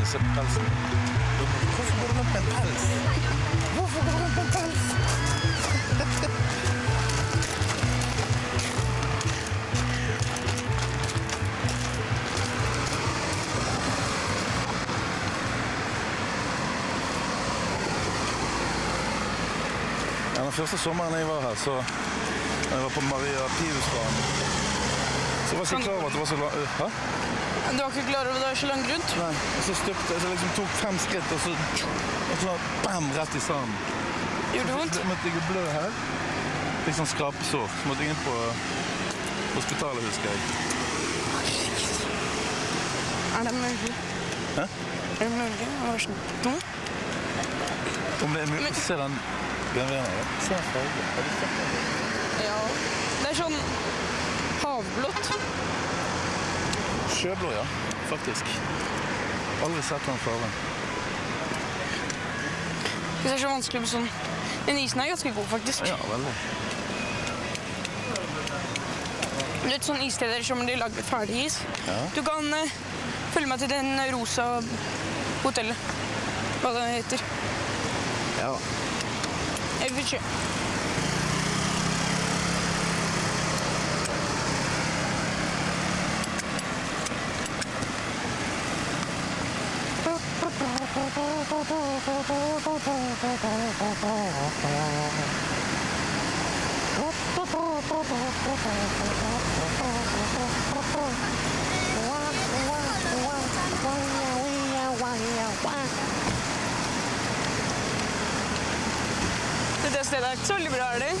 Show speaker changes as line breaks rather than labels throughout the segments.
disse pelsene. Hvorfor går du rundt med en pels? Hvorfor går du rundt med en pels? Ja, den første sommeren jeg var her, så da jeg var på Maria Piusbanen, så var jeg ikke
Kan-
klar over at det var så langt. Hæ?
Men Du var ikke klar over det var så langt rundt?
Nei. Og så stupte jeg, så jeg liksom tok fem skritt, og så, og så bam, rett i sanden.
Gjorde det vondt?
Så måtte jeg blø her. Fikk sånn skrapsår. Så måtte jeg inn på eh, hospitalet, husker jeg.
Er det mulig?
Hæ?
Er det mulig? Det var sånn dum.
Om det er mulig
Men-
Se den BMW-en her. Se den fargen. Har du sett den?
Ja. Det er sånn havblått.
Sjøblå, ja. Faktisk. Aldri sett den fargen.
Det er så vanskelig med sånn Den isen er ganske god, faktisk.
Ja, veldig.
Litt sånn issteder som de lager ferdig is.
Ja.
Du kan eh, følge meg til den rosa hotellet. Hva det heter.
Ja.
Jeg vil kjø. Dette stedet er ikke så veldig bra, er det?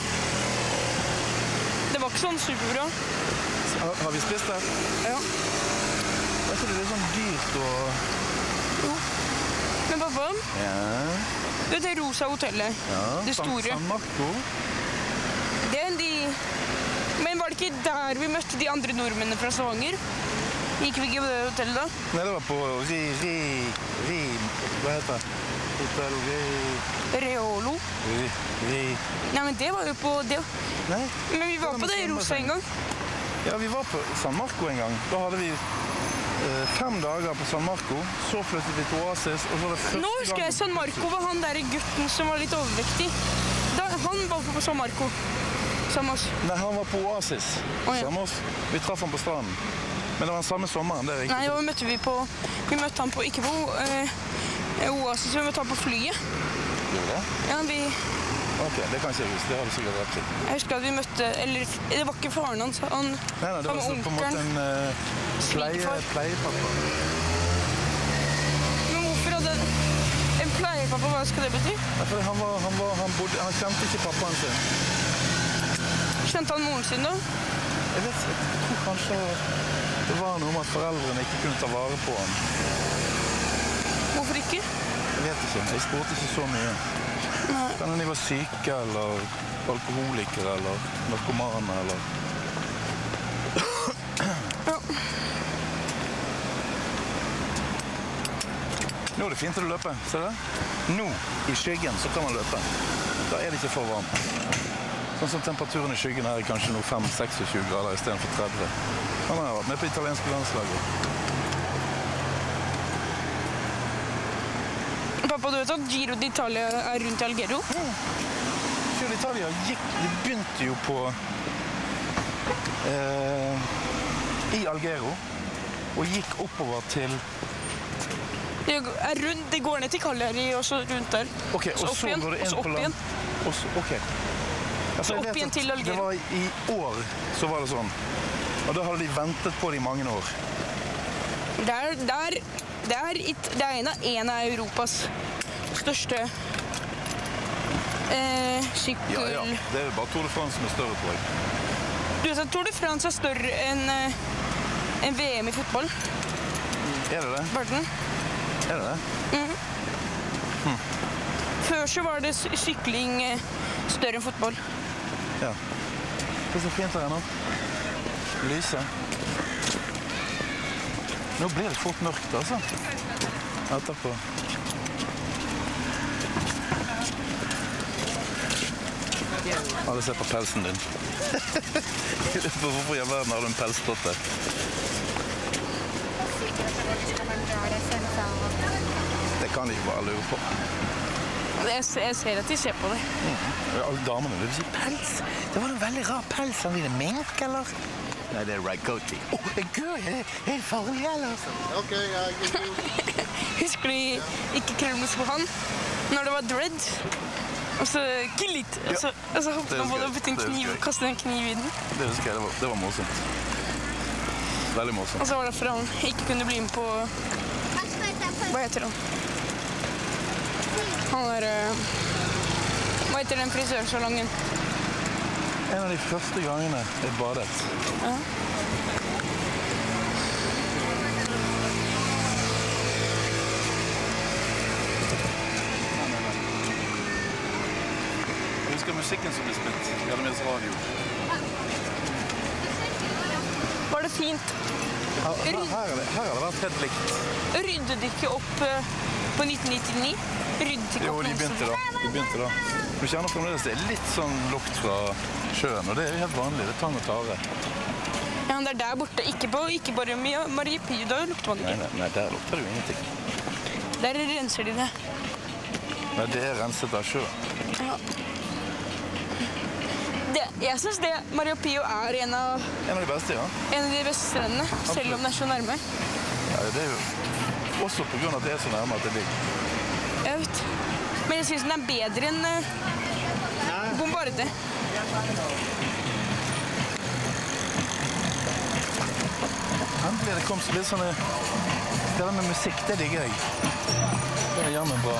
Det var ikke sånn superbra.
Har, har vi spist det?
Ja.
Jeg tror det er litt sånn dyrt og...
Men pappa,
Ja.
du vet det rosa hotellet? Det
San-
store.
San Marco.
Det er de... Men var det ikke der vi møtte de andre nordmennene fra Stavanger? Gikk vi ikke på det hotellet da?
Nei, det var på Ri... Ri... Ri... Hva heter det? Hotell Ri...
Reolo?
Ri... Ri...
Nei, men det var jo på det.
Nei?
Men vi var på det rosa en gang.
Ja, vi var på San Marco en gang. Da hadde vi eh, fem dager på San Marco. Så flyttet vi til Oasis, og så var det første
Nå husker jeg sånn- San Marco var han der gutten som var litt overvektig. Da, han var på San Marco. Sammen med oss.
Nei, han var på Oasis.
Å, ja.
Samme oss. Vi traff han på stranden. Men det var den samme sommeren, det er riktig.
Nei, da møtte vi på Vi møtte han på ikke på eh, Oasis, vi møtte han på flyet.
Gjorde det?
Ja, vi, jeg
Ok, det kan ikke jeg huske. Det har du sikkert rett til.
husker at vi møtte Eller det var ikke faren hans. Han,
Nei, nei, det
Han
var
var
sånn på en måte en
onkelen.
eh, pleie,
Svigerfar.
pleiepappa.
men hvorfor hadde en pleiepappa Hva skal det bety?
Ja, fordi Han, var, han, var, han, bodde, han kjente ikke pappaen sin.
Kjente han moren sin da?
Jeg vet ikke, jeg tror kanskje det var noe med at foreldrene ikke kunne ta vare på han.
Hvorfor ikke?
Jeg vet ikke, jeg spurte ikke så mye. Kan hende de var syke eller alkoholikere eller narkomane eller
Ja.
Nå er det fint å løpe, ser du det? Nå, i skyggen, så kan man løpe. Da er det ikke for varmt. Sånn som temperaturen i skyggen her er kanskje nå 5-26 grader istedenfor 30. Han har vært med på italienske landslaget.
Pappa, du vet at Giro d'Italia er rundt i Algero?
Fjord Italia gikk Det begynte jo på eh, I Algero. Og gikk oppover til
Det er rundt, det går ned til Cagliari og så rundt der.
Ok, og så,
opp igjen,
går det inn
og så
på
opp
land.
igjen.
Og så, ok. Altså, jeg
opp
vet at
igjen til Algero.
Det var i år så var det sånn. Og da hadde de ventet på det i mange år.
Det er, det er, det er, it- det er en, av, en av Europas største eh, sykkel...
Det er jo bare Tour de France som er større, tror jeg.
Du vet at Tour de France er større enn eh, enn VM i fotball,
Er det det?
verden.
Er det det?
Før så var det sy- sykling eh, større enn fotball.
Ja. Det er så fint her nå. Lyset. Nå blir det fort mørkt, altså. Etterpå. Alle ser på pelsen din. Hvorfor i all verden har du en pelsdotte?
Skal man dra det sentralt?
Det kan de bare lure på.
Jeg, se- jeg ser at de ser på det.
Ja, Alle damene vil si pels. Det var en veldig rar pels. Han ville mink, eller? Nei, det er ragoti. Å, gud, er det er farlig, eller?
Okay, I give you
Husker du ikke krøllmus på han? Når det var dread? Og så kilit! Og så, og så hoppet
det husker
han på det
jeg.
og puttet en
Det husker
kniv,
jeg.
kastet en kniv i den.
Det husker jeg. Det var, det var morsomt. Veldig morsomt.
Og så var det derfor han ikke kunne bli med på Hva heter han? Han er eh, Hva heter den frisørsalongen?
En av de første gangene jeg badet. Jeg husker musikken som ble spilt. Gjennomhjelps radio.
Var det fint?
Her, her, her, er det- her har det vært helt likt.
Ryddet de ikke opp eh, på 1999? Ryddet ikke
Jo,
opp
de
noe som-
begynte da. De begynte da. Du kjenner fremdeles det er litt sånn lukt fra sjøen, og det er jo helt vanlig. Det er tang og tare.
Ja, men det er der borte. Ikke på ikke bare Mia- Marie Pio, da lukter man det
Nei, nei, nei, der lukter det jo ingenting.
ikke. Der renser de det.
Nei, det er renset av sjøen.
det jeg syns det Marie Pio er en av,
En av de beste, ja.
en av de beste strendene, selv om det er så nærme.
ja det er jo også på grunn av at det er så nærme at det ligger.
Jeg vet. Men jeg syns den er bedre enn eh, Bombarde.
Endelig det kom så litt sånne Det der med musikk, det digger jeg. Det er jammen bra.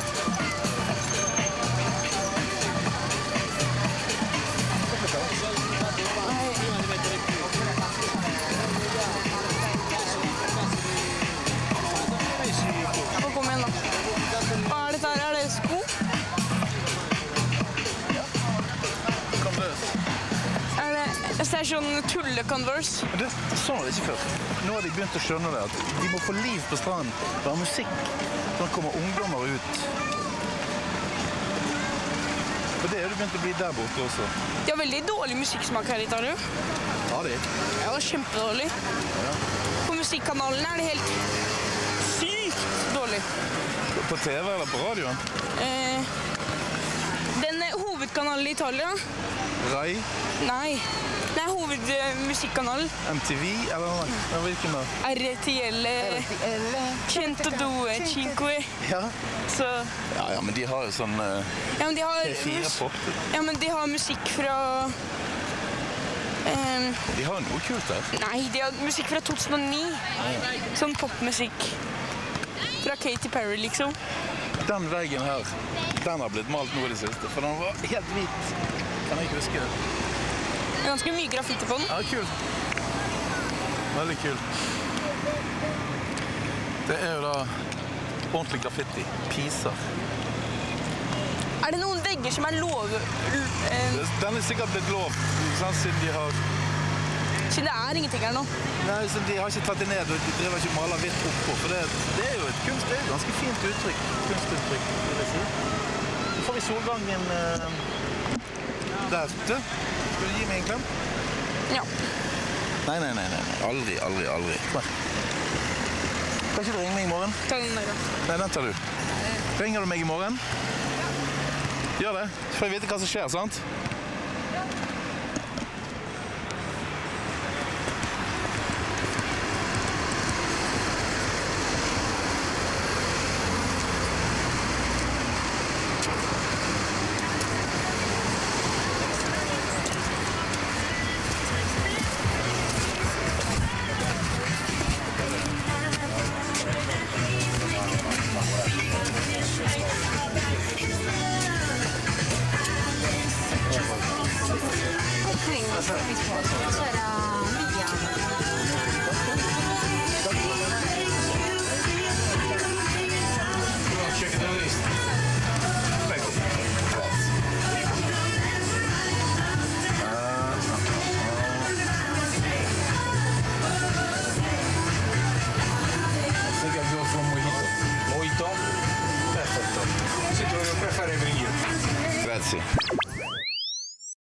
Nå, kom igjen, da. Hva er dette her? Er det sko?
Kom løs.
Er det, jeg ser sånn tulle-converse.
Men det sånn var det ikke før. Nå har de begynt å skjønne det, at de må få liv på stranden. Det er musikk. Sånn kommer ungdommer ut. Og det er det begynt å bli der borte også.
De har veldig dårlig musikksmak her i Italia.
Har de?
Ja, kjempedårlig. På musikkanalene er det helt sykt dårlig.
På TV eller på radioen?
Eh, den eh, hovedkanalen i Italia
Rai,
Nei. Det er hovedmusikkanalen.
MTV eller noe? Ja, Hvilken da?
RTL eh, 102 Cinque.
Ja.
Så
ja, ja, men de har jo sånn eh,
Ja, men de har,
fire
mus-
pop.
ja, men de har musikk fra eh,
De har jo noe kult der.
Nei, de har musikk fra 2009. Sånn popmusikk. Fra Katy Perry, liksom.
Den veggen her, den har blitt malt nå i det siste, for den var helt hvit. Kan jeg ikke huske det.
Det er Ganske mye graffiti på den.
Ja, kult. Veldig kult. Det er jo da ordentlig graffiti. Piser.
Er det noen vegger som er lov... l- eh,
Det- Den er sikkert blitt lov, ikke sant, siden de har
Siden det er ingenting her nå.
Nei, så de har ikke tatt det ned, og de driver ikke og maler hvitt oppå, for det, det er jo et kunst, det er et ganske fint uttrykk. Kunstuttrykk, vil jeg si. Så får vi solgangen eh, der. Du, skal du gi meg en klem?
Ja.
Nei, nei, nei. nei. Aldri, aldri, aldri. Kom her. Kan ikke du ringe meg i morgen?
Ta den der, da.
Nei, den tar du. Ringer du meg i morgen? Gjør det. Så får jeg vite hva som skjer, sant?
Sikkert gå for mojito. Mojito? Perfetto. Se dove preferire io.
Grazie.